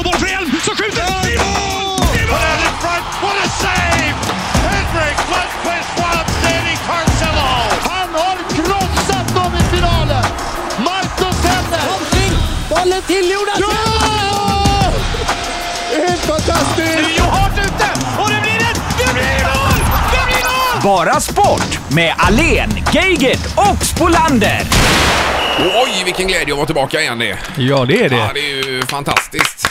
så skjuter! I mål! I mål! What a save! Henrik Lundqvist Wallstedt i Carcelo! Han har krossat dem i finalen! Marcus Henner! Bollen till Jonas! Ja! Det är Helt fantastiskt! Det är ju hårt ute och det blir ett... Det blir mål! Det blir mål! Bara sport med Alen, Geigert och Spolander. Oj, vilken glädje att vara tillbaka igen det. Ja, det är Ja, det. det är ju fantastiskt.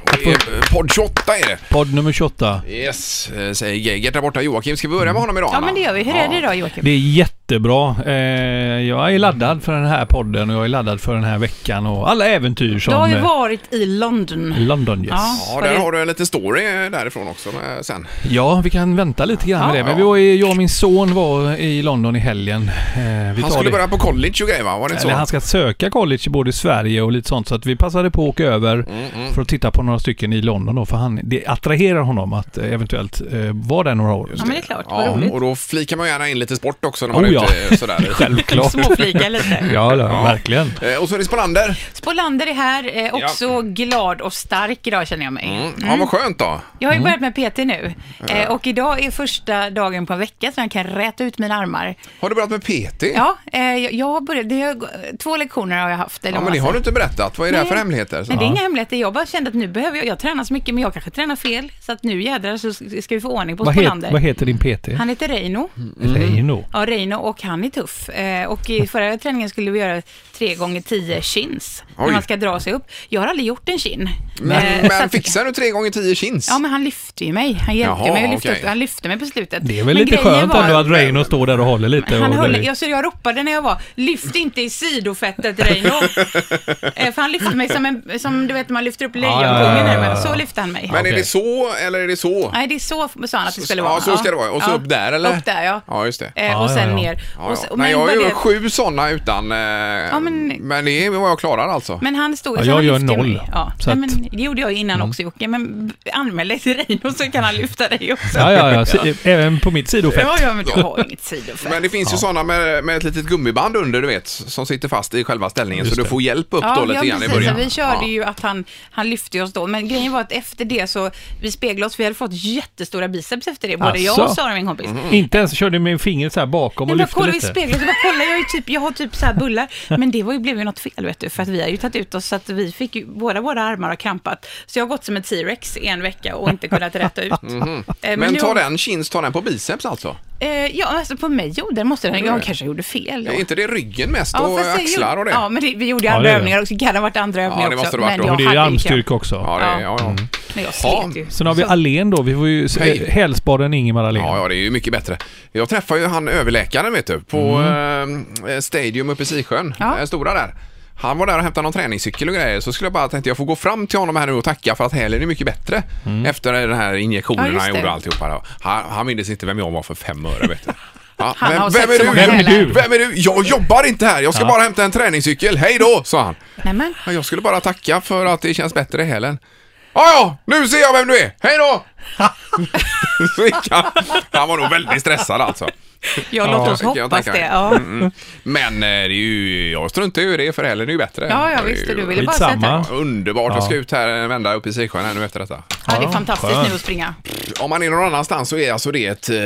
Och det är podd 28 är det. Podd nummer 28. Yes, eh, säger Geigert där borta. Joakim, ska vi börja med honom idag? Ja, Anna? men det gör vi. Hur är det idag, Joakim? Det är jättebra. Eh, jag är laddad för den här podden och jag är laddad för den här veckan och alla äventyr Du har som... ju eh, varit i London. London, yes. Ja. Ja, Var där det- har du en liten story eh, därifrån också eh, sen. vi kan vänta lite grann med Ja. det. Men vi var i, jag och min son var i London i helgen. Eh, vi Han tar skulle det. börja på college och grejer va? Var det inte så? Eller han ska söka college både i Sverige och lite sånt. Så att vi passade på att åka över Mm, för att titta på några stycken i London då. För han, det attraherar honom att eh, eventuellt eh, vara där några år. Ja, men det är klart. Vad Ja, roligt. och då flikar man gärna in lite sport också när man Oh, är ja. ute eh, sådär. Självklart. Småflika lite. Ja, ja, verkligen. Eh, Och så är det Spolander. Spolander är här, eh, också glad och stark idag känner jag mig. Mm. Ja, vad skönt då. Jag har ju börjat med PT nu eh, och idag är första dagen på en vecka så jag kan räta ut mina armar. Har du börjat med PT? Ja, eh, jag- jag har börjat, det har, två lektioner har jag haft. Eller Ja, vad men det man har du säger. inte berättat. Vad är det här för hemligheter? Nej, det är inga hemligheter. Jag bara kände att nu behöver jag, jag tränar så mycket men jag kanske tränar fel. Så att nu jädrar så ska vi få ordning på Vad, Spolander. het, Mm. vad heter din PT? Han heter Reino. Mm. Reino. Ja, Reino och han är tuff. Eh, och i förra träningen skulle vi göra tre gånger tio chins. Oj. När man ska dra sig upp. Jag har aldrig gjort en chin. Eh, Men, så men att- fixar du tre gånger tio chins? Ja, men han lyfte ju mig. Han hjälpte Jaha, mig. att lyfta okej. upp, han lyfte mig på slutet. Det är väl men lite grejen skönt var- ändå att Reino står där och håller lite. Han och höll, jag, så jag ropade när jag var, lyft inte i sidofettet Reino. Eh, För han lyfte mig som, en, som du vet, man lyfter upp ja, ja, lejonkungen. ja, Ja, ja. Så lyfte han mig. Men är Okej. det så eller är det så? Nej, det är så sa han att det skulle vara. Ja, så ska det vara. Och så Ja. upp där eller? Upp där, ja. Ja, just det. Eh, Ja, och ja, sen ja. ner. Ja, Och ja. så- Nej, jag vad har ju det- sju sådana utan... Eh, men... men- det var jag klarar alltså. Men han stod... Ja, så jag han gör lyfte ju noll. mig. Ja. Så Nej, att- Mm. men det gjorde jag ju innan också Jocke, men b- anmäl dig till Reino så kan han lyfta dig också. Ja, ja, ja. Se- Även på mitt sidofett. ja, ja men du har inget sidofett. Men det finns ju sådana med, med ett litet gummiband under, du vet, som sitter fast i själva ställningen, Just så du det. får hjälp upp då lite grann i precis. början. Vi körde ja. ju att han, han lyfte oss då, men grejen var att efter det så, vi speglade oss, vi hade fått jättestora biceps efter det, både jag och Alltså. Asså? Sara, min kompis. Mm. Mm. Inte ens körde med fingret så här bakom Nej, och men lyfte kolla i lite. spegeln, så bara kolla, jag, är ju typ, jag har typ så här bullar. Men det var ju, blev ju något fel vet du, för att vi har ju tagit ut oss så att vi fick ju, båda våra armar har krampat. Så jag har gått som en T-rex i en vecka och inte kunnat rätta ut. Eh, Mhm. Men, nu- ta den chins, ta den på biceps alltså? Eh, ja, alltså på mig gjorde den måste den, jag kanske gjorde fel. då. Är inte det ryggen mest och fast jag axlar gjorde- och det? Ja, men det, vi gjorde ju Ja, andra det är det. övningar också. Det kan ha varit andra övningar det också. måste det varit men då. jag Men det är ju hade ju kramp. armstyrka också. Ja, det, ja, ja. Mm. Men jag Ja. slet ju. Sen har vi Alén då. Vi får ju se- Hej. hälsbaden Ingemar Alén. Ja, ja, det är ju mycket bättre. Jag träffade ju han överläkaren vet du, på eh, Stadium uppe i Sisjön, Mm. Ja. den stora där. Han var där och hämtade någon träningscykel och grejer, så skulle jag bara tänkte jag får gå fram till honom här nu och tacka för att hälen är mycket bättre efter den här Mm. Ja, injektionen just han gjorde det. och alltihopa. då. Han, han mindes inte vem jag var för fem öre vet du. Ja, Han har men, sett vem, är så du? många Vem, är du? hälar. vem är du? Jag jobbar inte här, jag ska bara hämta en träningscykel, hej då, sa han. Nej, men. Ja, Jag skulle bara tacka för att det känns bättre i hälen. Ja, ja, nu ser jag vem du är! Hej då! Så gick han. Han var nog väldigt stressad alltså. Ja, låt oss kan jag hoppas tänka det. mig. Ja. Mm, mm. Men eh, det är ju, jag struntar ju i det för hälen är ju bättre. Ja, ja, Det är visst. ju Du ville bara Skitsamma. sätta. Underbart. Jag ska Ja. ut här en vända upp i Sisjön här nu efter detta. Ja, det är Ja, fantastiskt skönt. nu att springa. Om man är någon annanstans så är alltså det ett, eh,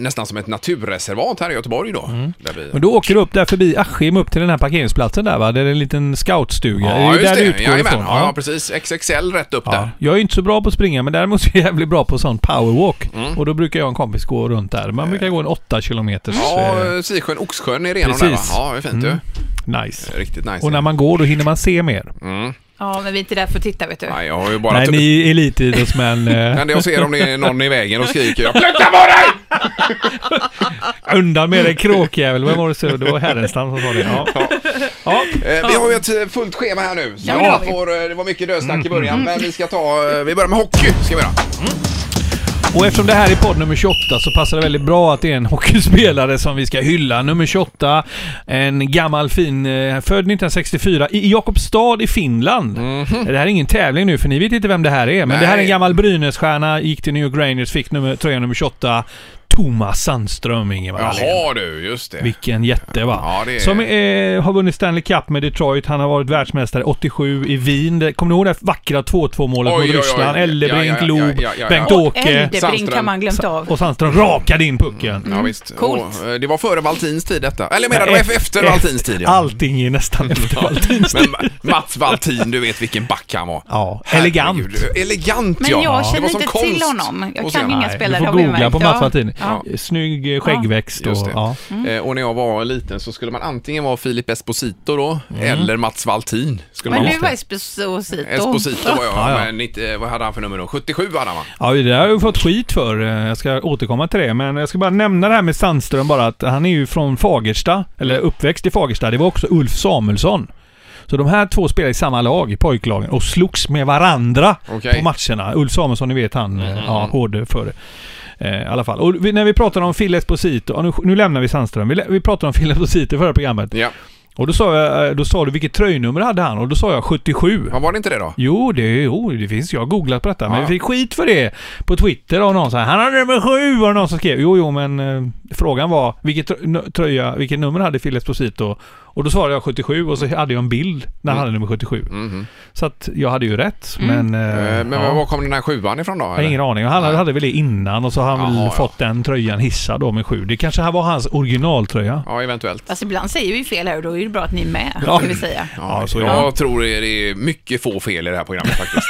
nästan som ett naturreservat här i Göteborg då. Mm. Där vi, Men då åker du upp där förbi Askim upp till den här parkeringsplatsen där va? Där är en liten scoutstuga. ja, det är ju just där det. du utgår Jajamän. ifrån. Ja, precis. XXL rätt upp där. Ja. Jag är ju inte så bra på att springa men däremot så är jag jävligt bra på sån powerwalk. Och då brukar jag och en kompis gå runt där. Man brukar gå en 8 kilometers... eh, Ja, Sisjön, Oxsjön är redan där va? Precis. Mm. Ja, det är fint ju. nice. Riktigt nice. Och när man går då hinner man se mer. Ja, men vi är inte där för att titta, vet du. Nej, jag har ju bara... Nej, ni är elitidrottsmän. Det Eh, enda jag ser om det är någon i vägen och skriker jag flyttar på dig! undan med dig kråkjävel. Vem var det så? Det var Härenstam som sa det. Ja. Ja. Eh, vi har ju ett eh, fullt schema här nu. Så Ja, det har vi vi. får, eh, det var mycket dödsnack i Mm, början men vi ska ta, eh, vi börjar med hockey ska vi göra. Och eftersom det här är podd nummer 28 så passar det väldigt bra att det är en hockeyspelare som vi ska hylla. Nummer 28, en gammal fin, eh, född 1964 i Jakobstad i Finland. Det här är ingen tävling nu för ni vet inte vem det här är, men det här är Mhm. Nej. en gammal Brynässtjärna, gick till New York Rangers, fick nummer, tröja nummer 28. Thomas Sandström, Ingemar Ahlén. Jaha du, just det. Vilken jätte va? Ja, det är- Som eh, har vunnit Stanley Cup med Detroit. Han har varit världsmästare 87 i Wien. Det- Kommer ni ihåg det vackra 2-2 målet Oj, mot oj, oj. Ryssland? Eldebrink, Ja, ja, ja, Loob, ja, ja, ja. Och Bengt-Åke Eldebrink Sandström. har man glömt av. och Sandström rakade in pucken. Mm, Ja, visst. Coolt. Och, eh, det var före Valtins tid detta. Eller menar du efter, efter Valtins tid? Ja. eh, Mm. Allting är nästan efter Valtins Men Ma- Mats Valtin, du vet vilken back han var. Ja, Herregud. elegant. Elegant Men ja. jag Det var känner som inte konst. till honom. Och Jag sen- kan inga Nej, spelare Du har får vi googla märkt. på Ja. Mats Valtin. Ja. Snygg eh, skäggväxt och... Just det. Ja. Mm. Eh, Och när jag var liten så skulle man antingen vara Filip Esposito då, Mm. eller Mats Valtin. Skulle Men man du vara. var Esposito. Esposito var jag, Ja, ja. men inte, vad hade han för nummer då? 77 hade han va? Ja, det har jag ju fått skit för. Eh, Jag ska återkomma till det, men jag ska bara nämna det här med Sandström bara att han är ju från Fagersta, eller uppväxt i Fagersta. Det var också Ulf Samuelsson. Så de här två spelade i samma lag, i pojklagen, och slogs med varandra Okej. Mm-hmm. på matcherna. Ulf Samuelsson, ni vet han, mm. ja, hård för eh, i alla fall. Och vi, när vi pratade om Phil Esposito, och nu, nu lämnar vi Sandström, vi, lä- vi pratade om Phil Esposito i förra programmet. Ja. Och då sa, jag, eh, då sa du vilket tröjnummer hade han? Och då sa jag 77. ja, var det inte det då? Jo, det, jo, det finns. Jag har googlat på detta. Men Ja. vi fick skit för det på Twitter av någon. Så här, han hade nummer sju var det någon som skrev. Jo, jo, men eh, frågan var vilket tr- nö- tröja, vilket nummer hade Phil Esposito? Och då svarade jag 77 och så hade jag en bild när han Mm. hade nummer 77. Så att jag hade ju rätt, men... eh, Mhm. Eh, Men ja. var kom den här sjuan ifrån då? Jag har eller? ingen aning. Han hade, hade väl det innan och så har han väl Jaha, ja. fått den tröjan hissad då med sju. Det kanske här var hans originaltröja. Ja, eventuellt. Fast Alltså, ibland säger vi fel här och då är det bra att ni är med. Ja. Ska vi säga. Ja, Ja, så är jag tror det är mycket få fel i det här programmet faktiskt.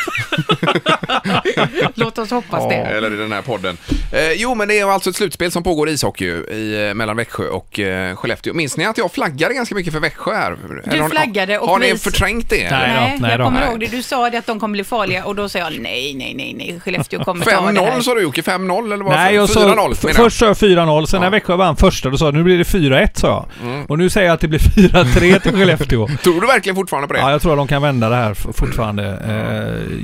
Låt oss hoppas det. Eller i den här podden. Eh, jo, men det är alltså ett slutspel som pågår i ishockey i, eh, mellan Växjö och eh, Skellefteå. Minns ni att jag flaggade ganska mycket för Växjö här? Eller har ni- flaggade och Har ni vi- förträngt det? Nej. eller? då, nej jag då. kommer Nej. ihåg det. Du sa det att de kommer bli farliga och då sa jag nej, nej, nej, nej. Skellefteå kommer ta det 5-0 här. sa du Jocke, 5-0 eller vad? Nej, jag 4-0 sa, menar jag. först sa jag 4-0, sen Ja. Mm. när Växjö vann första då sa jag nu blir det 4-1 sa jag. Och nu säger jag att det blir 4-3 till Skellefteå. Tror du verkligen fortfarande på det? Ja, jag tror att de kan vända det här f- fortfarande.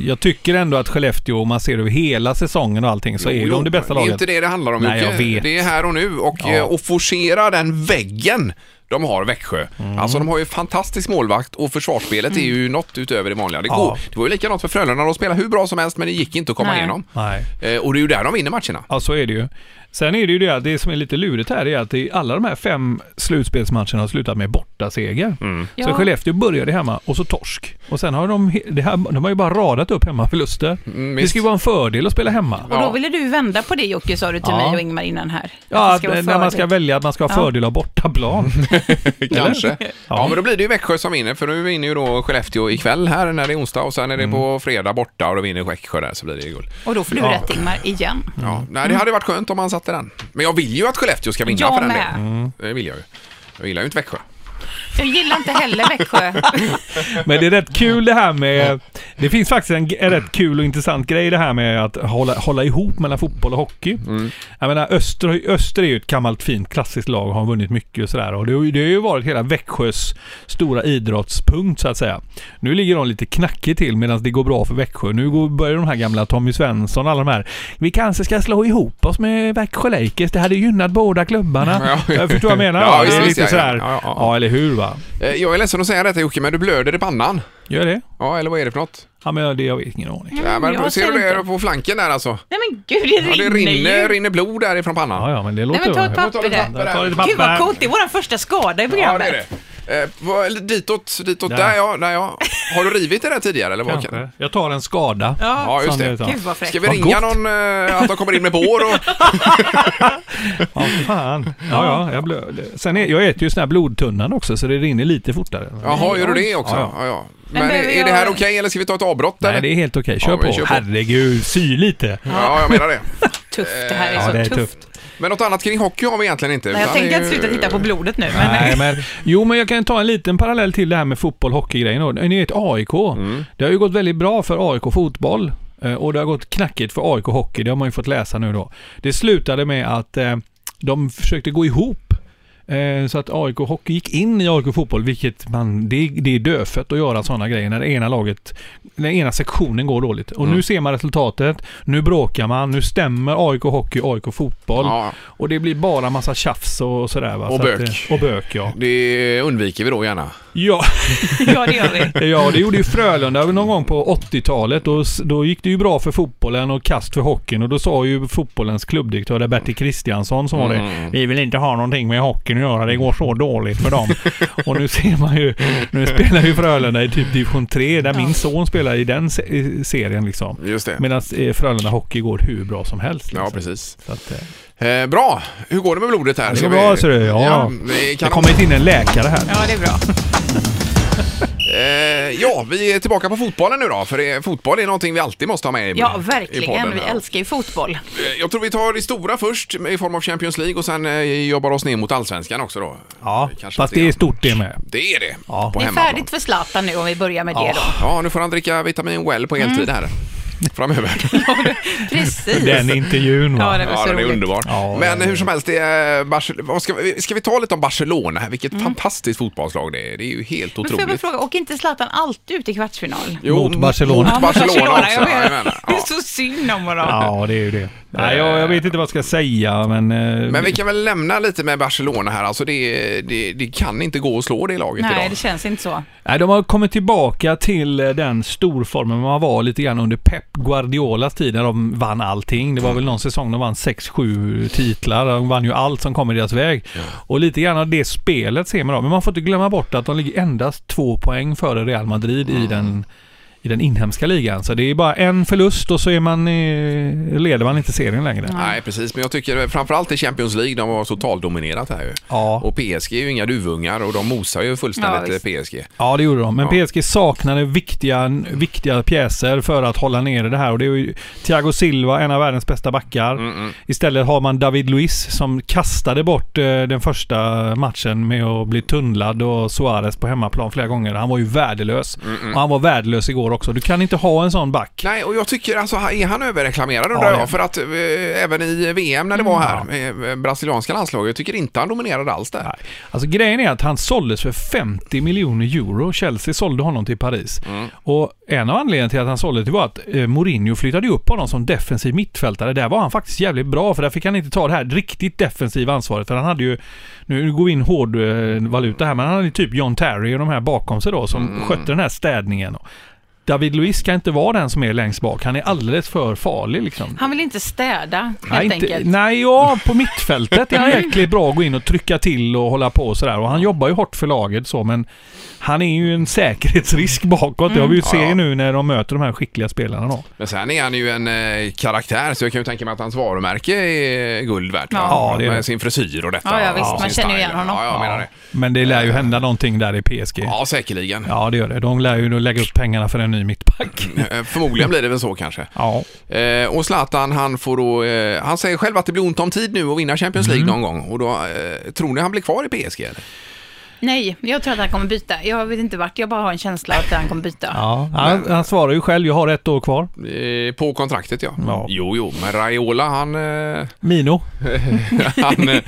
Eh, jag tycker ändå att Skellefteå, om man ser över hela säsongen och allting, så är Jo, de det bästa men Det är laget. inte det det handlar om Nej, Jocke. jag vet. Det är här och nu och, Ja. eh, och forcera den väggen de har Växjö. Mm. Alltså de har ju fantastisk målvakt och försvarsspelet är ju något utöver det vanliga. Det, Ja. går, det var ju likadant för Frölunda, de spelade hur bra som helst men det gick inte att komma Nej. igenom. Nej. Eh, och det är ju där de vinner matcherna. Ja, så är det ju. Sen är det ju det, att det som är lite lurigt här är att det, alla de här fem slutspelsmatcherna har slutat med bortaseger. Så Mm. Ja. Skellefteå började hemma och så torsk. Och sen har de, he- det här, de har ju bara radat upp hemmaförluster. det Mm, visst. ska ju vara en fördel att spela hemma. Och Ja. då ville du vända på det Jocke, sa du till Ja. mig och Ingmar innan här. Ja, Att det ska vara att, när man ska fördel. välja att man ska ha fördel av bortaplan. Kanske. Ja. Ja. men då blir det ju Växjö som vinner för nu vinner ju då Skellefteå ikväll här när det är onsdag och sen är det Mm. på fredag borta och då vinner Växjö där så blir det guld. Och då får du Ja. rätt Ingmar, igen. Ja, Mm. nej, det hade varit skönt om han satte den. Men jag vill ju att Skellefteå ska vinna Jag för den med. delen. Mm. Det vill jag ju. Jag gillar ju inte Växjö. Jag gillar inte heller Växjö. Men det är rätt kul det här med... Det finns faktiskt en, en rätt kul och intressant grej det här med att hålla, hålla ihop mellan fotboll och hockey. Mm. Jag menar Öster, Öster är ju ett gammalt fint klassiskt lag och har vunnit mycket och sådär. Och det, har ju- det har ju varit hela Växjös stora idrottspunkt så att säga. Nu ligger de lite knackigt till medan det går bra för Växjö. Nu går, börjar de här gamla Tommy Svensson och alla de här. Vi kanske ska slå ihop oss med Växjö Lakers. Det hade gynnat båda klubbarna. Ja. Jag förstår vad jag menar. Ja, va? det visst, är visst, lite ja, ja. sådär. Ja, Ja, ja, ja. eller hur va? Eh, Jag är ledsen att säga detta Jocke, men du blöder i pannan. Gör det? Ja, eller vad är det för något? Ja men det jag vet ingen aning. ja, men Mm, jag ser ser du det inte. på flanken där alltså? Nej men gud, det, Ja, det rinner rinner, ju. rinner blod därifrån pannan. Ja, ja, men det Nej låter men ta ett bra. papper där. papper. Ta lite Gud vad papper. coolt, det är vår första skada i Ja, det är programmet. det. Eh, vad- eller ditåt, ditåt. Där. Där. ja, där ja. Har du rivit det där tidigare eller vad? Kanske. Jag tar en skada. Ja, Ja, just Sandra det. tar. gud vad fräckt. Ska vi Vad ringa gott. någon eh, att de kommer in med bår och... Ja, fan. Ja, ja, jag, blö- Sen är, jag äter ju sån här blodtunnan också så det rinner lite fortare. Jaha, gör du det också? Ja, ja. Ja, ja. Men, Men är, behöver är det här jag- okej eller ska vi ta ett avbrott? Nej, eller? det är helt okej. Kör, Ja, på. men kör på. Herregud, sy lite. Ja, jag menar det. Tufft, det här är så det är tufft. Men något annat kring hockey har vi egentligen inte. Nej, jag utan eh, det tänker är inte ju- sluta titta på blodet nu. Men, Nej, men, jo, men jag kan ta en liten parallell till det här med fotboll hockeygrejen. då. Ni vet AIK. Det har ju gått väldigt bra för AIK fotboll eh, och det har gått knackigt för AIK hockey. Det har man ju fått läsa nu då. Det slutade med att eh, de försökte gå ihop eh, så att AIK hockey gick in i AIK fotboll, vilket man, det, det är dödfött att göra sådana grejer när det ena laget, när ena sektionen går dåligt. Och nu ser man resultatet, nu bråkar man, nu stämmer AIK hockey AIK fotboll. Ja. Och det blir bara massa tjafs och sådär va. Och Så att, bök. eh, och bök ja. Det undviker vi då gärna. Ja. eh, Ja, det gör vi. Ja, det gjorde ju Frölunda någon gång på 80-talet. Då, då gick det ju bra för fotbollen och kast för hockeyn. Och då sa ju fotbollens klubbdirektör, där Bertil Kristiansson, som var Mm. det. Vi vill inte ha någonting med hockeyn att göra. Det går så dåligt för dem. och nu ser man ju, nu spelar ju Frölunda i typ division 3, där min son spelar i den se- i serien liksom. Just det. Medan eh, Frölunda Hockey går hur bra som helst. Liksom. Ja, precis. Så att, eh, Eh, bra! Hur går det med blodet här? det Ska går vi- bra ser du. Ja. ja vi det kan kommer inte in en läkare här. Ja, det är bra. Eh, ja, vi är tillbaka på fotbollen nu då, för det, fotboll är någonting vi alltid måste ha med i Ja, i verkligen. podden Vi här. älskar ju fotboll. Eh, Jag tror vi tar det stora först i form av Champions League och sen eh, jobbar oss ner mot Allsvenskan också då. Ja, Kanske fast lite det är grann. stort det med. Det är det, Ja. på Det är hemmaplan. färdigt för Zlatan nu om vi börjar med det då. Mm. Ja, nu får han dricka vitamin well på heltid här framöver. Precis. Den intervjun va? Ja, det var Ja, så den är roligt. underbar. Ja, Men det är- hur som helst, det är Barcelona. vad Ska vi, ska vi ta lite om Barcelona? här? Vilket fantastiskt fotbollslag det är. Det är ju helt Mm. Men får jag bara otroligt. fråga, åker inte Zlatan alltid ut i kvartsfinal? Jo, Mot Barcelona. Mot Barcelona också. jag vet. jajamän. Det är Ja. så synd om honom. Ja, det är ju det. Nej, jag, jag vet inte vad jag ska säga, men... eh, Men vi kan väl lämna lite med Barcelona här. Alltså det, det, det kan inte gå att slå det laget Nej, idag. det känns inte så. nej, de har kommit tillbaka till eh, den storformen man var lite grann under Pep Guardiolas tid när de vann allting. Det var väl någon säsong de vann 6-7 titlar. De vann ju allt som kom i deras väg. Och lite grann av det spelet ser man då. Men man får inte glömma bort att de ligger endast två poäng före Real Madrid i den i den inhemska ligan. Så det är bara en förlust och så är man, eh, leder man inte serien längre. Nej, precis. Men jag tycker framförallt i Champions League, de har totaldominerat här ju. Ja. Och PSG är ju inga duvungar och de mosar ju Ja, fullständigt visst. eh, PSG. Ja, det gjorde de. Men PSG saknade viktiga, viktiga pjäser för att hålla nere det här. Och det är ju Thiago Silva, en av världens bästa backar. Istället har man David Luiz som kastade bort eh, den första matchen med att bli tunnlad och Suarez på hemmaplan flera gånger. Han var ju värdelös. Och han var värdelös igår också. Du kan inte ha en sån back. Nej, och jag tycker alltså, är han överreklamerad Ja, undrar Mm, det- jag? För att eh, även i VM när det var här, eh, brasilianska landslaget, jag tycker inte han dominerade alls där. Nej. Alltså grejen är att han såldes för 50 miljoner euro. Chelsea sålde honom till Paris. Och en av anledningarna till att han såldes det var att eh, Mourinho flyttade ju upp honom som defensiv mittfältare. Där var han faktiskt jävligt bra för där fick han inte ta det här riktigt defensiva ansvaret. För han hade ju, nu går vi in hård eh, valuta här, men han hade ju typ John Terry och de här bakom sig då som skötte den här städningen. David Luiz ska inte vara den som är längst bak. Han är alldeles för farlig liksom. Han vill inte städa, helt Nej, inte, enkelt. nej, ja, på mittfältet är han jäkligt bra att gå in och trycka till och hålla på och sådär. Och han jobbar ju hårt för laget så, men han är ju en säkerhetsrisk bakåt. Det har vi ju Mm. Ja, ja. ser nu när de möter de här skickliga spelarna då. Men sen är han ju en eh, karaktär så jag kan ju tänka mig att hans varumärke är guld värt. va? Ja, det är det. Med sin frisyr och detta. Ja, ja, visst. och Man sin känner ju style. igen honom. Ja, jag menar det. Eh. Men det lär ju hända någonting där i PSG. Ja, säkerligen. Ja, det gör det. De lär ju då lägga upp pengarna för en ny mittback. Eh, Förmodligen blir det väl så kanske. Ja, Eh, och Zlatan, han får då, eh, han säger själv att det blir ont om tid nu att vinna Champions Mm. League någon gång. Och då, eh, tror ni han blir kvar i PSG? Eller? Nej, jag tror att han kommer byta. Jag vet inte vart, jag bara har en känsla att han kommer byta. ja. Han, han svarar ju själv. Jag har ett år kvar. Eh, på kontraktet ja. Ja. Jo, jo, men Raiola han, eh, Mino. han, eh,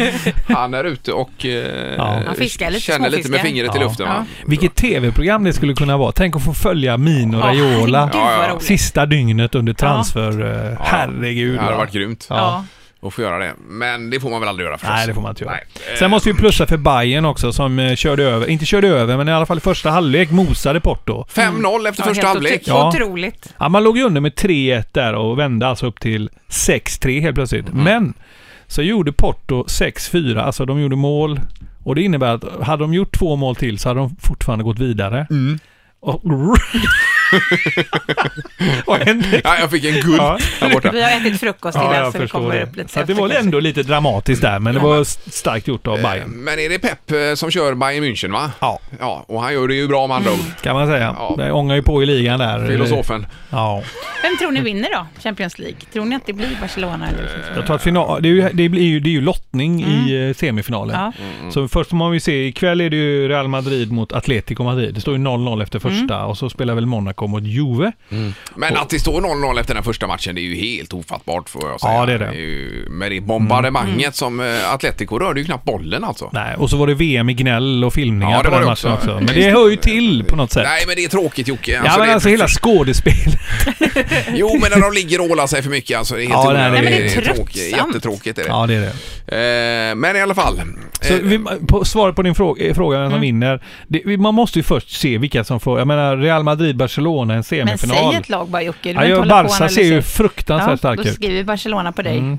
han är ute och eh, Ja. Han fiskar lite, känner lite med småfiskar. fingret i Ja. luften. Va? Vilket tv-program det skulle kunna vara. Tänk att få följa Mino Ja, Raiola herregud, vad roligt. sista dygnet under transfer... eh, Herregud. Det hade va? varit grymt Ja. att få göra det. Men det får man väl aldrig göra förstås. Nej, eh. det får man inte göra. Nej. Sen måste vi plussa för Bayern också som eh, körde över, inte körde över, men i alla fall i första halvlek mosade Porto. 5-0 efter Mm. Ja, första helt halvlek. otro- Ja. Otroligt. Ja, man låg ju under med 3-1 där och vände alltså upp till 6-3 helt plötsligt. Men så gjorde Porto 6-4, alltså de gjorde mål och det innebär att hade de gjort två mål till så hade de fortfarande gått vidare. Och... Vad hände? Ja, jag fick en Eh, guld Ja. där borta. Vi har ätit frukost Ja, innan jag så det förstår kommer det. upp lite Så att det efter var kanske. ändå lite dramatiskt där, men det var st- starkt gjort av Eh, Bayern. Men är det Pep eh, som kör Bayern München va? Ja, Ja, och han gör det ju bra med andra ord. kan man säga. Ja. Det ångar ju på i ligan där. Filosofen. Ja. Vem tror ni vinner då, Champions League? Tror ni att det blir Barcelona? Eller? Eh, Jag tror att final, det, är ju, det, blir ju, det är ju lottning i eh, semifinalen. Mm. Ja. Mm. Så först får man ju se, ikväll är det ju Real Madrid mot Atletico Madrid. Det står ju 0-0 efter Mm. första och så spelar väl Monaco mot Juve. Mm. Men att det står 0-0 efter den första matchen, det är ju helt ofattbart får jag säga. Ja, det är det. ju- Med det bombardemanget Mm. som eh, Atletico rörde ju knappt bollen alltså. Nej, och så var det VM i gnäll och filmningar Ja, det på var den det matchen också. också. Men det hör ju till på något sätt. Nej, men det är tråkigt Jocke. ja, men det är- alltså hela skådespel. Jo, men när de ligger och ålar sig för mycket alltså. Det är helt Ja, onödigt. nej, det är- Nej, men det är tråkigt. tröttsamt. Jättetråkigt är det. ja, det är det. Eh, men i alla fall. Så Eh, vi, på, svaret på din fråga, eh, fråga Mm. vem som vinner. Det, vi- man måste ju först se vilka som får. Jag menar Real Madrid-Barcelona, en Men semifinal. säg ett lag bara Jocke. Du Ja, behöver jag, inte hålla på och Barca ser ju analysera. fruktansvärt ja, stark Då ut. Mm. skriver Barcelona på dig.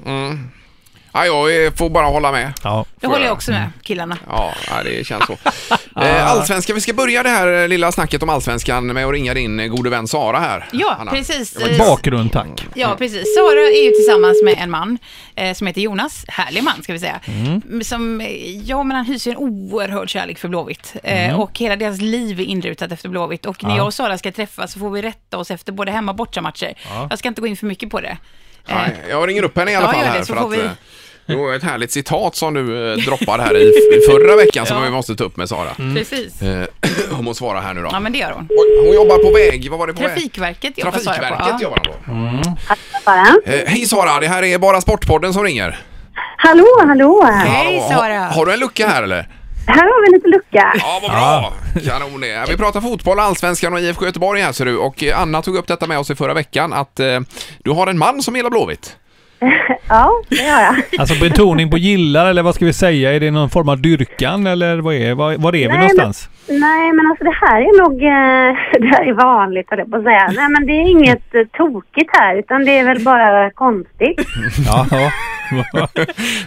ja, jag eh, får bara hålla med. Ja. Det håller jag också med killarna. Ja, ja, det känns så. Eh, Allsvenskan, vi ska börja det här eh, lilla snacket om allsvenskan med att ringa din eh, gode vän Sara här. Ja, Anna. precis. Jag vet inte. Bakgrund tack. Ja, precis. Sara är ju tillsammans med en man eh, som heter Jonas. Härlig man, ska vi säga. Som, eh, ja, men han hyser en oerhörd kärlek för Blåvitt. Eh, Och hela deras liv är inrutat efter Blåvitt. Och när jag och Sara ska träffas så får vi rätta oss efter både hemma och bortamatcher. Jag ska inte gå in för mycket på det. Eh, Nej, jag ringer upp henne i alla Ja, fall gör här det, så för får att vi- eh, det var ett härligt citat som du eh, droppade här i, i förra veckan som Ja. vi måste ta upp med Sara. Mm. Precis. Eh, om hon svarar här nu då. Ja, men det gör hon. Oj, Hon jobbar på väg, vad var det på väg? Trafikverket jobbar Sara på. Trafikverket ja. jobbar han på. Eh, hej Sara, det här är Bara Sportpodden som ringer. Hallå, hallå! Hej Hallå, Sara! Har, har du en lucka här eller? Här har vi en liten lucka. Ja, vad bra! Kanon det. Ja, Vi pratar fotboll, Allsvenskan och IFK Göteborg här ser du. Och eh, Anna tog upp detta med oss i förra veckan att eh, du har en man som gillar Blåvitt. Ja, det har jag. Alltså betoning på gillar eller vad ska vi säga? Är det någon form av dyrkan eller vad är, var, var är vi någonstans? Men, nej, men alltså det här är nog... eh, Det här är vanligt, höll jag på att säga. Nej, men det är inget eh, tokigt här, utan det är väl bara konstigt. Ja, ja. Nej,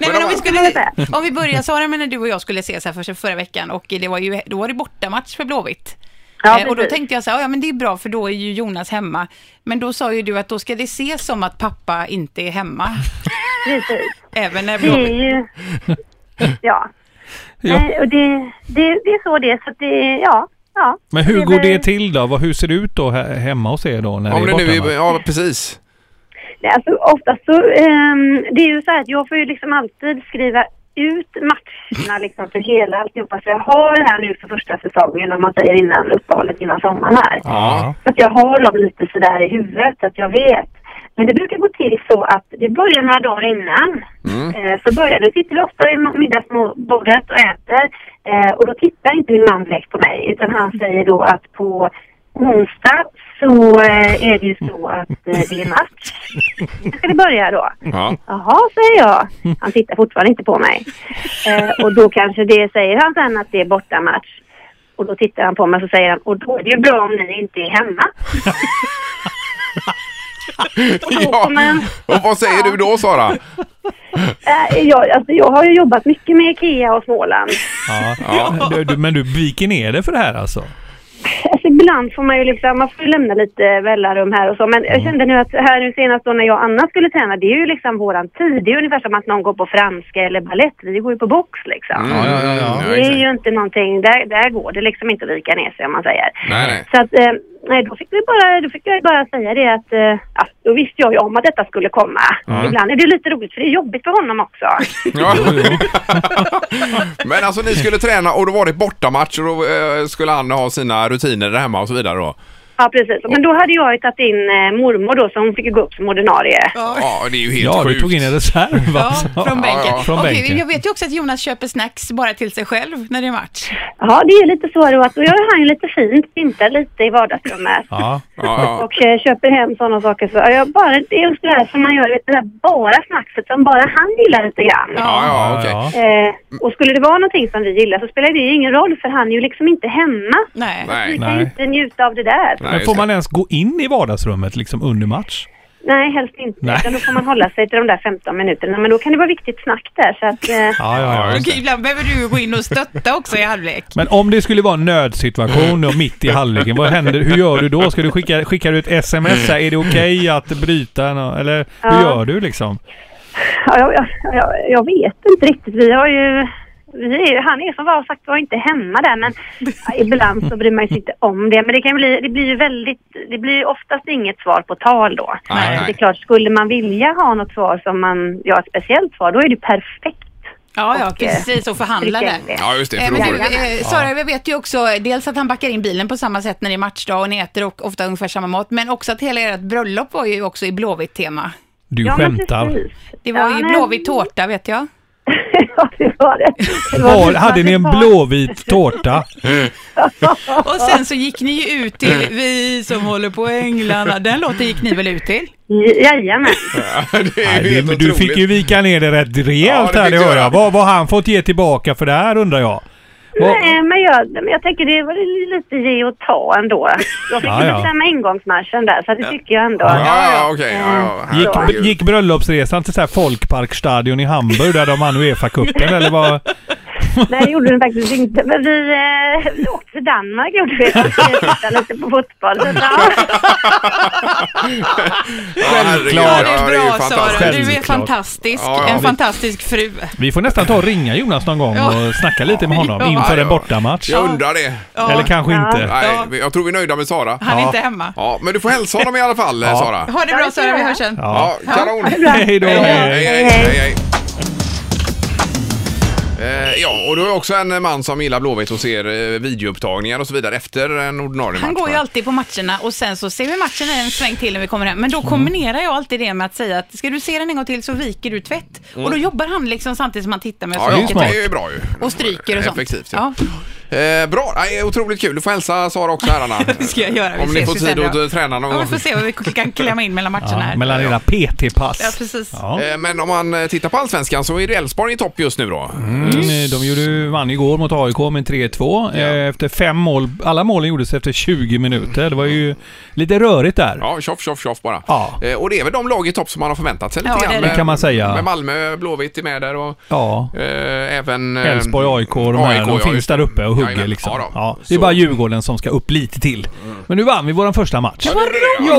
men om, vi Vad skulle, var om vi börjar Sara, men när du och jag skulle ses här för förra veckan och det var ju, då var det bortamatch för Blåvitt. Ja, Eh, och då precis. tänkte jag så här, ja men det är bra för då är ju Jonas hemma. Men då sa ju du att då ska det ses som att pappa inte är hemma. Precis. Även när Det är Blåvitt... ju... Ja. Ja. Nej, och det, det, det är så det är, så att det... Ja. ja. Men hur är går väl- det till då? Vad- Hur ser det ut då he- hemma hos er då? När Om det det är nu är, bortamatch? ja precis. Nej, alltså oftast så, ehm, det är ju så här att jag får ju liksom alltid skriva ut matcherna liksom för hela alltihopa. Så jag har det här nu för första säsongen om man säger innan uppehållet innan sommaren här. Ja. Så att jag har dem lite sådär i huvudet så att jag vet. Men det brukar gå till så att det börjar några dagar innan. Eh, så börjar det, sitter vi ofta vid middagsbordet och äter. Eh, och då tittar inte min man direkt på mig utan han säger då att på onsdag så eh, är det ju så att eh, det är match. Nu ska det börja då. Ja. Jaha, säger jag. Han tittar fortfarande inte på mig. Eh, och då kanske det säger han sen att det är bortamatch. Och då tittar han på mig och så säger han, och då är det ju bra om ni inte är hemma. ja. Men, Och vad säger du då Sara? Mm. eh, jag, alltså, jag har ju jobbat mycket med IKEA och Småland. Ja. Du, du, men du viker ner dig för det här alltså? Alltså, ibland får man ju liksom, man får ju lämna lite vällarum här och så. Men jag kände nu att här nu senast då när jag och Anna skulle träna, det är ju liksom våran tid. Det är ungefär som att någon går på franska eller ballett. Vi går ju på box liksom. ja, ja, ja. Det är exakt. ju inte någonting, där, där går det liksom inte att vika ner sig om man säger. Nej, nej. Så att, eh, nej, då fick, vi bara, då fick jag ju bara säga det att, eh, ja, då visste jag ju om att detta skulle komma. Ibland är det lite roligt för det är jobbigt för honom också. Ja. Men alltså ni skulle träna och då var det bortamatch och då eh, skulle Anna ha sina rutiner där hemma och så vidare då. Ja, precis. Men då hade jag ju tagit in eh, mormor då, så hon fick ju gå upp som ordinarie. Ja, det är ju helt Ja, sjukt. du tog in en reserv Ja, alltså. från bänken. ja. Från Okej, bänken. jag vet ju också att Jonas köper snacks bara till sig själv när det är match. Ja, det är ju lite så då att då gör han ju lite fint, pyntar lite i vardagsrummet. Ja. Ja, Och eh, köper hem sådana saker. Så, ja, jag bara, det är just det här som man gör, vet, du, det där bara snackset som bara han gillar lite grann. ja, ja, ja okej. ja. Eh, och skulle det vara någonting som vi gillar så spelar det ju ingen roll för han är ju liksom inte hemma. Nej. Vi Nej. kan ju Nej. inte njuta av det där. Nej, Men just får det. man ens gå in i vardagsrummet liksom under match? Nej, helst inte. Nej. Utan då får man hålla sig till de där 15 minuterna. Men då kan det vara viktigt snack där. Så att, eh, Ja, ja, ja. Okej, ibland behöver du gå in och stötta också i halvlek. Men om det skulle vara en nödsituation och mitt i halvleken, vad händer? Hur gör du då? Ska du skicka, skicka ut sms? Här, är det okej att bryta? nå- Eller hur Ja. gör du liksom? ja, jag, jag, jag, jag vet inte riktigt. Vi har ju... Vi är, han är som var sagt var inte hemma där men ja, ibland så bryr man sig inte om det. Men det, kan bli, det blir ju väldigt, det blir ju oftast inget svar på tal då. Nej, Det är nej. klart, skulle man vilja ha något svar som man, ja ett speciellt svar, då är det ju perfekt. Ja, ja, Och, eh, precis. Och förhandla där. tillgängligt. Ja, just det. Eh, För då men var du, det... eh, Sara, vi vet ju också eh, dels att han backar in bilen på samma sätt när det är matchdag och ni äter och ofta ungefär samma mat, men också att hela ert bröllop var ju också i Blåvitt-tema. Du Ja, men skämtar. precis. Det var Ja, ju nej. Blåvitt tårta vet jag. ja, det var det. det var Var, hade ni en blåvit tårta? Och sen så gick ni ju ut Mm. till Vi som håller på änglarna. Den låten gick ni väl ut till? Jajamän. det är ju Nej, helt men du otroligt. fick ju vika ner det rätt rejält Ja, det här, fick det jag hör göra. jag. Vad vad har han fått ge tillbaka för det här undrar jag? Vad- Nej, men jag, men jag tänker det var lite ge och ta ändå. Jag fick Ja, ju ja. bestämma ingångsmarschen där, så det tycker jag ändå. Ja, ja, okej. Ja, ja. Gick, Herregud. gick bröllopsresan till så här Folkparkstadion i Hamburg där de vann Uefa-cupen eller vad? Nej, det gjorde den faktiskt inte. Men vi, eh, vi åkte till Danmark gjorde vi. Och tittade lite på fotboll. Så, ja. Ja, herregud. Ja, Ja, det är bra Sara. Du är Självklart. fantastisk. Ja, ja. En fantastisk fru. Vi får nästan ta och ringa Jonas någon gång Ja. och snacka lite med honom Ja. inför Ja, en ja. bortamatch. Jag undrar det. Ja, Eller kanske inte. Nej, Ja. vi- jag tror vi är nöjda med Sara. Han är inte hemma. Ja, men du får hälsa honom i alla fall, eh, Sara. Ha det bra Sara, vi hörs sen. Ja, kanon. Hej då! Hej, hej, hej, hej. Eh, Ja, och du är också en man som gillar Blåvitt och ser eh, videoupptagningar och så vidare efter en ordinarie Han match. går ju va? alltid på matcherna och sen så ser vi matchen en sväng till när vi kommer hem. Men då Mm. kombinerar jag alltid det med att säga att ska du se den en gång till så viker du tvätt. Och då jobbar han liksom samtidigt som han tittar med Mm. Ja, så ja, ju viker smart. det är ju bra ju. Och stryker och sånt. Effektivt, ja. ja. Eh, bra, Nej, otroligt kul. Du får hälsa Sara också herrarna. Det ska jag göra. Vi Om ni ses får ju tid sen att då. eh, träna någon Ja, gång. vi får se vad vi kan klämma in mellan matcherna Ja, här. mellan era PT-pass. Ja, precis. Ja. Eh, Men om man eh, tittar på Allsvenskan så är det Elfsborg i topp just nu då. Mm, De gjorde, vann igår mot AIK med 3-2 eh, Ja. efter fem mål. Alla målen gjordes efter 20 minuter. Det var ju lite rörigt där. Ja, tjoff, tjoff, tjoff bara. Ja. Eh, Och det är väl de lag i topp som man har förväntat sig lite Ja, det grann. är det. med- kan man säga. Med Malmö, Blåvitt är med där och Ja. eh, även... eh, Elfsborg, AIK och de här, de ja, finns just- där uppe och hugger Jajamän, liksom. ja, då. Ja, det är Så- Mm. bara Djurgården som ska upp lite till. Men nu vann vi vår första match. Vad Ja,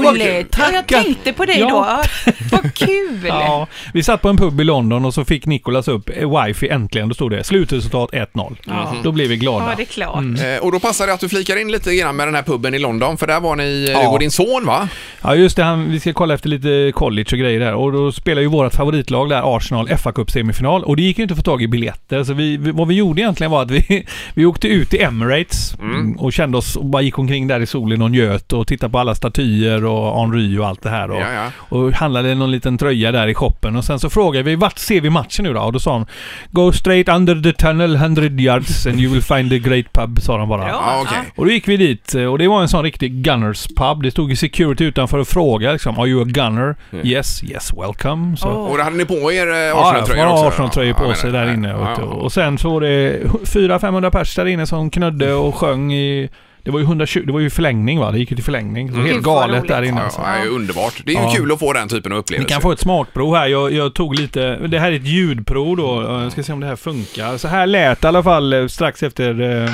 vad kul. roligt! Ja, jag Tackar. tänkte på dig Ja. då. Vad kul! Ja, vi satt på en pub i London och så fick Nikolas upp eh, wifi äntligen. Då stod det slutresultat 1-0. Då blev vi glada. Ja, det är klart. Eh, Och då passar det att du flikar in lite grann med den här puben i London, för där var ni, Ja. du och din son va? Ja just det, han, vi ska kolla efter lite college och grejer där. Och då spelar ju vårt favoritlag där, Arsenal, fa Cup semifinal. Och det gick ju inte att få tag i biljetter. Så vi, vi- vad vi gjorde egentligen var att vi, vi åkte ut till Emirates Mm. och kände oss och bara gick omkring där i solen och njöt och tittade på alla statyer och Henry och allt det här. Och, Ja, ja. och handlade någon liten tröja där i shoppen. Och sen så frågade vi vart ser vi matchen nu då? Och då sa han Go straight under the tunnel 100 yards and you will find the great pub, sa de bara. Bra. Ja, okej. Och då gick vi dit eh, och det var en sån riktig Gunners pub. Det stod ju security utanför och frågade liksom “Are you a gunner?” “Yes, yes, welcome”. Så. Och då hade ni på er eh, Ja, ja, Arsenal-tröjor man har också? Arsenal-tröjor Ja, på jag sig menar, där ja, inne. ja, vet du. ja. Och sen så var det 400-500 pers där inne som knödde och sjöng i... Det var ju 120, det var ju förlängning va? Det gick ju till förlängning. Det var helt Mm. Gud, vad galet roligt. där inne. Ja, alltså. ja, det är ju underbart. Det är ju Ja. kul att få den typen av Ni upplevelser. kan få ett smakprov här. Jag, jag tog lite... Det här är ett ljudprov då. Jag ska se om det här funkar. Så här lät det i alla fall eh, strax efter eh,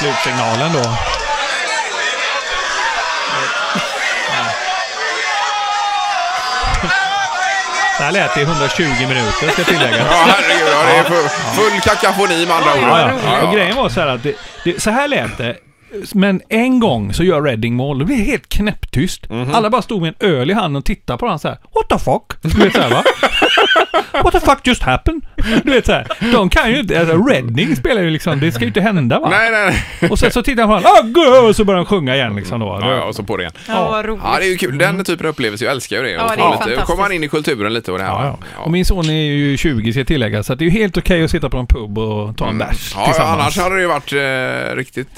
slutsignalen då. Så här lät det i 120 minuter ska jag tillägga. Ja, herregud. Ja, det är full, full kakafoni med andra ord. Ja, ja. Och grejen var så här att det, det, så här lät det. Men en gång så gör Redding mål. Det blir helt knäpptyst. Mhm. Alla bara stod med en öl i handen och tittade på honom så här. What the fuck? Du vet så här, va? What the fuck just happened? Du vet så här. De kan ju inte... Alltså, Redding spelar ju liksom... Det ska ju inte hända va? Nej, nej, nej. Och sen så tittar han på honom. "Ah, go!" Och så börjar han sjunga igen liksom då. Ja, ja, och så på det igen. Ja, vad roligt. Ja, det är ju kul. Mm. Den typen av upplevelser, jag älskar ju det. Ja, Och det är få ju lite- fantastiskt. Kommer man in i kulturen lite och det här. Ja, va? ja. Och min son är ju 20 ska jag tillägga, så att det är ju helt okej att sitta på en pub och ta en bärs Mm. Ja, ja, tillsammans. annars hade det ju varit eh, riktigt...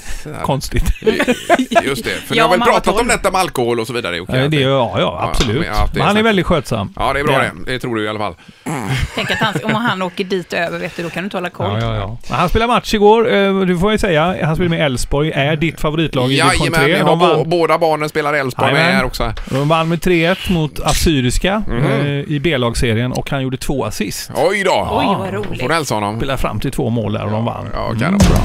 Konstigt. Just det, för ni Ja, har man väl var pratat om tolv. detta med alkohol och så vidare Jocke? Ja, det, ja, ja, men absolut. jag har haft det Men han är sagt. väldigt skötsam. Ja, det är bra Ja. det. Det tror du i alla fall. Tänk att han, om han åker dit över, vet du, då kan du inte hålla koll. Ja, ja, ja. Men Han spelade match igår, eh, det får jag ju säga. Han spelade med Elfsborg, är ditt favoritlag i division Jajamän, 3. vi har De bo- vann, båda barnen spelar Elfsborg med Jajamän. här också. de vann med 3-1 mot Assyriska Mhm. eh, i B-lagsserien och han gjorde två assist. Oj då! Oj, vad Då roligt. får du hälsa honom. Spelade fram till två mål där och de vann. Ja, kan mm. bra.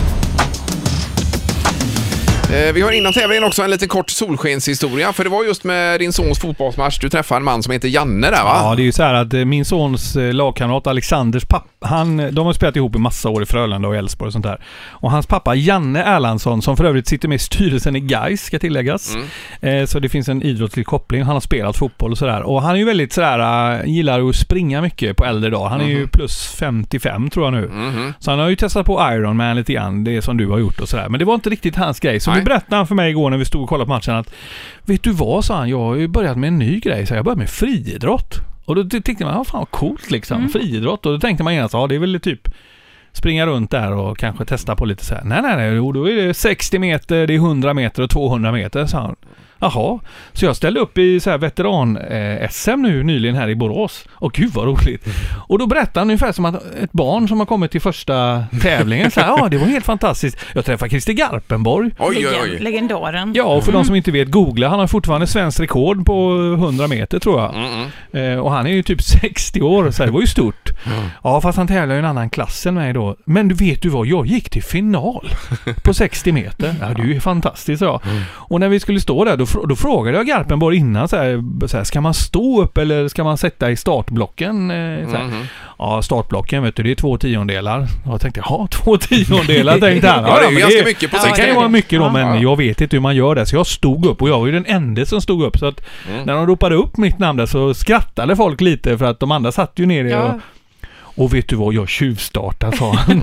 Eh, Vi har innan tävlingen också en liten kort solskenshistoria för det var just med din sons fotbollsmatch du träffade en man som heter Janne där va? Ja, det är ju så här att eh, min sons eh, lagkamrat Alexanders pappa, han, eh, de har spelat ihop i massa år i Frölunda och Elfsborg och sånt där. Och hans pappa Janne Erlandsson, som för övrigt sitter med i styrelsen i Gais ska tilläggas. Mm. Eh, så det finns en idrottslig koppling. Han har spelat fotboll och sådär. Och han är ju väldigt sådär, eh, gillar att springa mycket på äldre dag. Han är Mm-hmm. ju plus 55 tror jag nu. Så han har ju testat på Ironman lite grann, det som du har gjort och sådär. Men det var inte riktigt hans grej. Så Nej. då berättade han för mig igår när vi stod och kollade på matchen att Vet du vad, sa han, jag har ju börjat med en ny grej. Så jag börjar med friidrott. Och då ty- tyckte man, ja fan vad coolt liksom, friidrott. Och då tänkte man genast, ja det är väl typ springa runt där och kanske testa på lite så här. Nej, nej, nej, jo, då är det 60 meter, det är 100 meter och 200 meter, sa han. Jaha, så jag ställde upp i så här veteran-SM nu nyligen här i Borås. Och gud vad roligt. Och då berättade han ungefär som att ett barn som har kommit till första tävlingen så här, ja det var helt fantastiskt. Jag träffade Christer Garpenborg. Oj, oj, Legend- oj. Legendaren. Ja, och för Mm. de som inte vet, googla. Han har fortfarande svensk rekord på 100 meter tror jag. Eh, och han är ju typ 60 år, så det var ju stort. Ja, fast han tävlar ju i en annan klass än mig då. Men du vet du vad, jag gick till final på 60 meter. Ja, det är ju fantastiskt. Ja. Mm. Och när vi skulle stå där, då, fr- då frågade jag Garpenborg innan så här, så här, ska man stå upp eller ska man sätta i startblocken? Eh, så här. Mm-hmm. Ja, startblocken vet du, det är två tiondelar. Jag tänkte, ja, två tiondelar tänkte han. Ja, det är men ju ganska mycket på det 60 kan ju vara meter. mycket då, men jag vet inte hur man gör det. Så jag stod upp och jag var ju den enda som stod upp. Så att när de ropade upp mitt namn där så skrattade folk lite för att de andra satt ju nere. Ja. Och, och vet du vad, jag tjuvstartar sa han.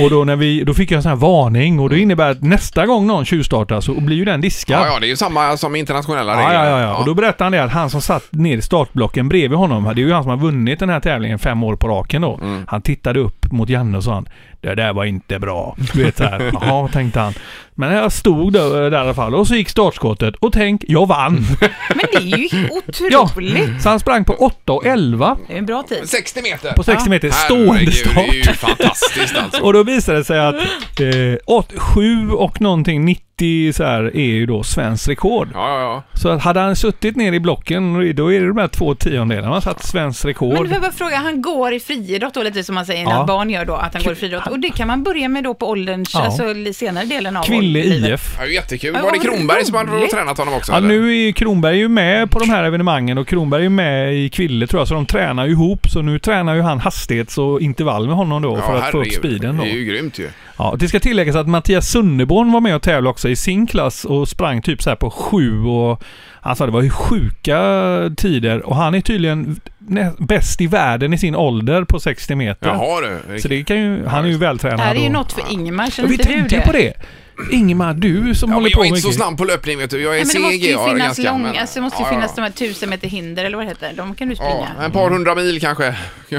och då, när vi, då fick jag en sån här varning och det innebär att nästa gång någon tjuvstartar så blir ju den diskad. Mm. Ja, ja, det är ju samma som internationella Ja, regler. ja, ja, ja. Och då berättade han det att han som satt ner i startblocken bredvid honom, det är ju han som har vunnit den här tävlingen fem år på raken då. Mm. Han tittade upp mot Janne och sa Det där var inte bra. Du vet såhär. Jaha, tänkte han. Men jag stod där, där i alla fall och så gick startskottet och tänk, jag vann. Men det är ju Ja. otroligt. Så han sprang på 8 och 11 Det är en bra tid. 60 meter! på 60 meter stående Herregud, det start. är ju fantastiskt alltså. Och då visade det sig att eh, åt- sju och någonting 90 så här, är ju då svensk rekord. Ja, ja, ja. Så att hade han suttit ner i blocken, då är det de här två tiondelarna. Han satt svensk Men rekord. du får bara fråga, han går i friidrott då lite som man säger Ja. när barn gör då, att han går i friidrott. Och det kan man börja med då på ålderns, Ja. alltså li- senare delen av Kvinnlig livet. IF. Ja, jättekul. Ja, Var det vad Kronberg som hade roligt. tränat honom också? Ja, eller? nu är ju Kronberg ju med på de här evenemangen och Kronberg är ju med i Kville tror jag, så de tränar ju ihop. Så nu tränar ju han hastighets och intervall med honom då Ja, för att få upp herregud. speeden då. Det är ju grymt ju. Ja, det ska tilläggas att Mattias Sunneborn var med och tävlade också i sin klass och sprang typ så här på sju och... Alltså det var ju sjuka tider och han är tydligen nä- bäst i världen i sin ålder på 60 meter. Jaha du. Så det kan ju, han är ju vältränad. Det här är ju och- något för Ingemar, Ja, känner vi inte du tänkte det? ju på det. Ingemar, du som Ja, men håller jag på är inte mycket. så snabb på löpning vet du. Jag är Nej, men det måste ju CG finnas, ganska. lång, men- alltså, det måste ju Ja, finnas de ja. här tusen meter hinder eller vad det heter. De kan du Ja, springa. en par hundra mil kanske.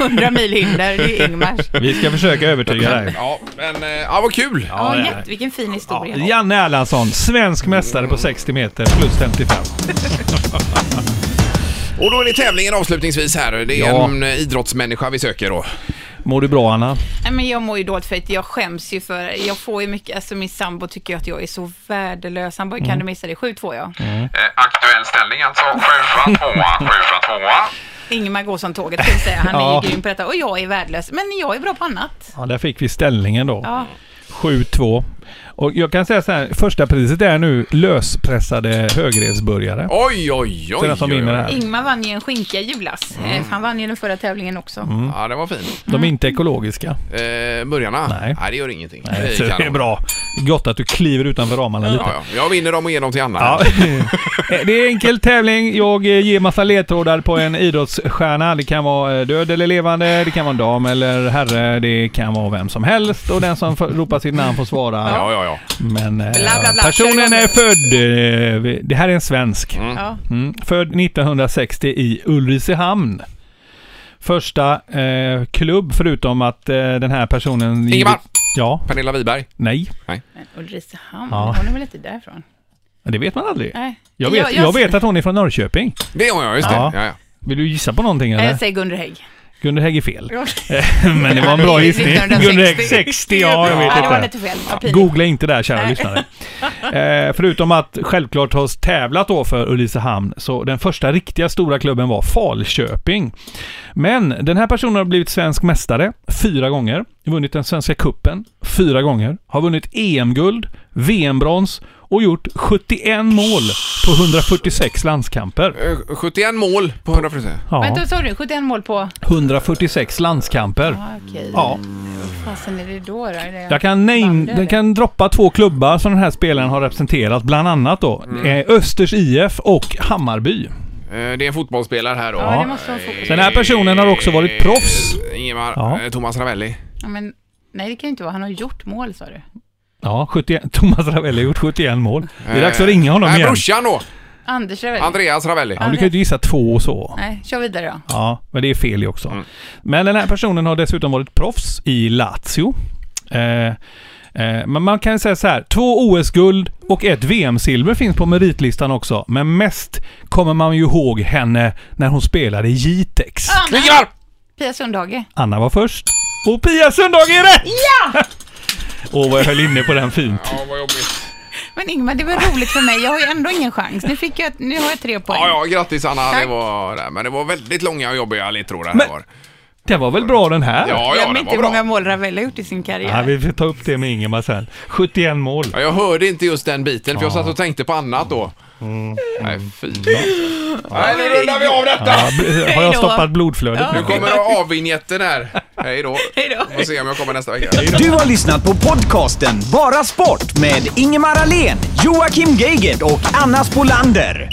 100 mil hinder, det är Ingmars. Vi ska försöka övertyga dig. Ja, men eh, ja, vad kul! Ja, det är jätte, vilken fin Ja, historia. Janne Erlandsson, svensk mästare på 60 meter plus 55. Och då är det tävlingen avslutningsvis här. Det är Ja. en eh, idrottsmänniska vi söker då. Eh, Mår du bra Anna? Nej, men jag mår ju dåligt för att jag skäms ju för, jag får ju mycket, alltså min sambo tycker ju att jag är så värdelös. Han bara, Mm. kan du missa det? 7-2 ja. Eh, aktuell ställning alltså. Sjua, tvåa, sjua, tvåa. Ingemar går som tåget, kan jag säga. Han Ja. är ju grym på detta och jag är värdelös. Men jag är bra på annat. Ja, där fick vi ställningen då. Ja. 7-2. Och jag kan säga så här, första priset är nu löspressade högrevsburgare. Oj, oj, Till oj! den som oj, vinner oj. det Mm. här. Ingmar vann ju en skinka i julas. Eh, för Han vann ju den förra tävlingen också. Mm. Ja, det var fint. Mm. De är inte ekologiska. Eh, burgarna? Nej. det gör ingenting. Nej, så det är kanon. bra. Gott att du kliver utanför ramarna lite. Ja, ja. Jag vinner dem och ger dem till Anna. Ja. Eh, Det är en enkel tävling. Jag eh, ger massa ledtrådar på en idrottsstjärna. Det kan vara eh, död eller levande, det kan vara en dam eller herre, det kan vara vem som helst och den som för- ropar sitt namn får svara. Ja, ja, ja. Men eh, bla, bla. personen Kör är igång. född... eh, vi- Det här är en svensk. Ja. Mm. Född 1960 i Ulricehamn. Första eh, klubb, förutom att eh, den här personen... Ingemar! Ja, Pernilla Wiberg. nej. Men Ulricehamn, Ja. hon är väl inte därifrån? Det vet man aldrig. Nej. Jag vet, jag, jag, vet att hon är från Norrköping. Det har jag, just det. Ja. Ja. Ja, Vill du gissa på någonting Nej, eller? jag säger Gunde Hägg. Gunde Hägg är fel. Eh, Men det var en bra gissning. 1960. Gunde Hägg 60, ja jag Ja, det var vet lite inte. fel. Vad pinigt. Googla inte där kära lyssnare. Eh, förutom att självklart har tävlat då för Ulricehamn, så den första riktiga stora klubben var Falköping. Men den här personen har blivit svensk mästare fyra gånger, vunnit den svenska kuppen fyra gånger, har vunnit EM-guld, VM-brons och gjort 71 mål på 146 landskamper. Eh, 71 mål på 100 Ja, Vänta, vad sa du? 71 mål på... 146 landskamper. Ah, Okej. Ja. Vad fasen är det då? då? Är det... Jag kan, name, Vann det, jag kan droppa två klubbar som den här spelaren har representerat, bland annat då eh, Östers IF och Hammarby. Eh, Det är en fotbollsspelare här då. Ja, det måste vara fokus. Den här personen har också varit proffs. Eh, Ingemar. Ja. eh, Thomas Ravelli. Ja, men... Nej, det kan ju inte vara. Han har gjort mål, sa du. Ja, 71, Thomas Ravelli har gjort 71 mål. Det är dags att ringa honom Nej, igen. Äh, Eh, brorsan då. Anders Ravelli. Andreas Ravelli. Ja, du kan ju inte gissa två och så. Nej, kör vidare då. Ja, men det är fel ju också. Mm. Men den här personen har dessutom varit proffs i Lazio. Eh, eh, men man kan ju säga så här. Två OS-guld och ett VM-silver finns på meritlistan också. Men mest kommer man ju ihåg henne när hon spelade i Jitex. Ah! Klingar! Pia Sundhage. Anna var först. Och Pia Sundhage är rätt! Ja! Åh, vad jag höll inne på den fint. Ja, vad jobbigt. Men Ingmar, det var roligt för mig. Jag har ju ändå ingen chans. Nu, fick jag, nu har jag tre poäng. Ja, ja, grattis Anna. Det Tack. var, nej, men det var väldigt långa och jobbiga ledtrådar här Men- var. Det var väl bra den här? Ja, ja, Glöm det inte var hur många bra. mål Ravelli har gjort i sin Ja, karriär. vi får ta upp det med Ingemar sen. 71 mål. Ja, jag hörde inte just den biten för jag satt och tänkte på annat då. Nej, fy. Nej, nu rundar vi av detta. Ja, b- har Hej jag då. stoppat blodflödet Nu nu? kommer avvinjetten här. Hej då. Hej då. Får se om jag kommer nästa vecka. Du har lyssnat på podcasten Bara Sport med Ingemar Ahlén, Joakim Geigert och Anna Spolander.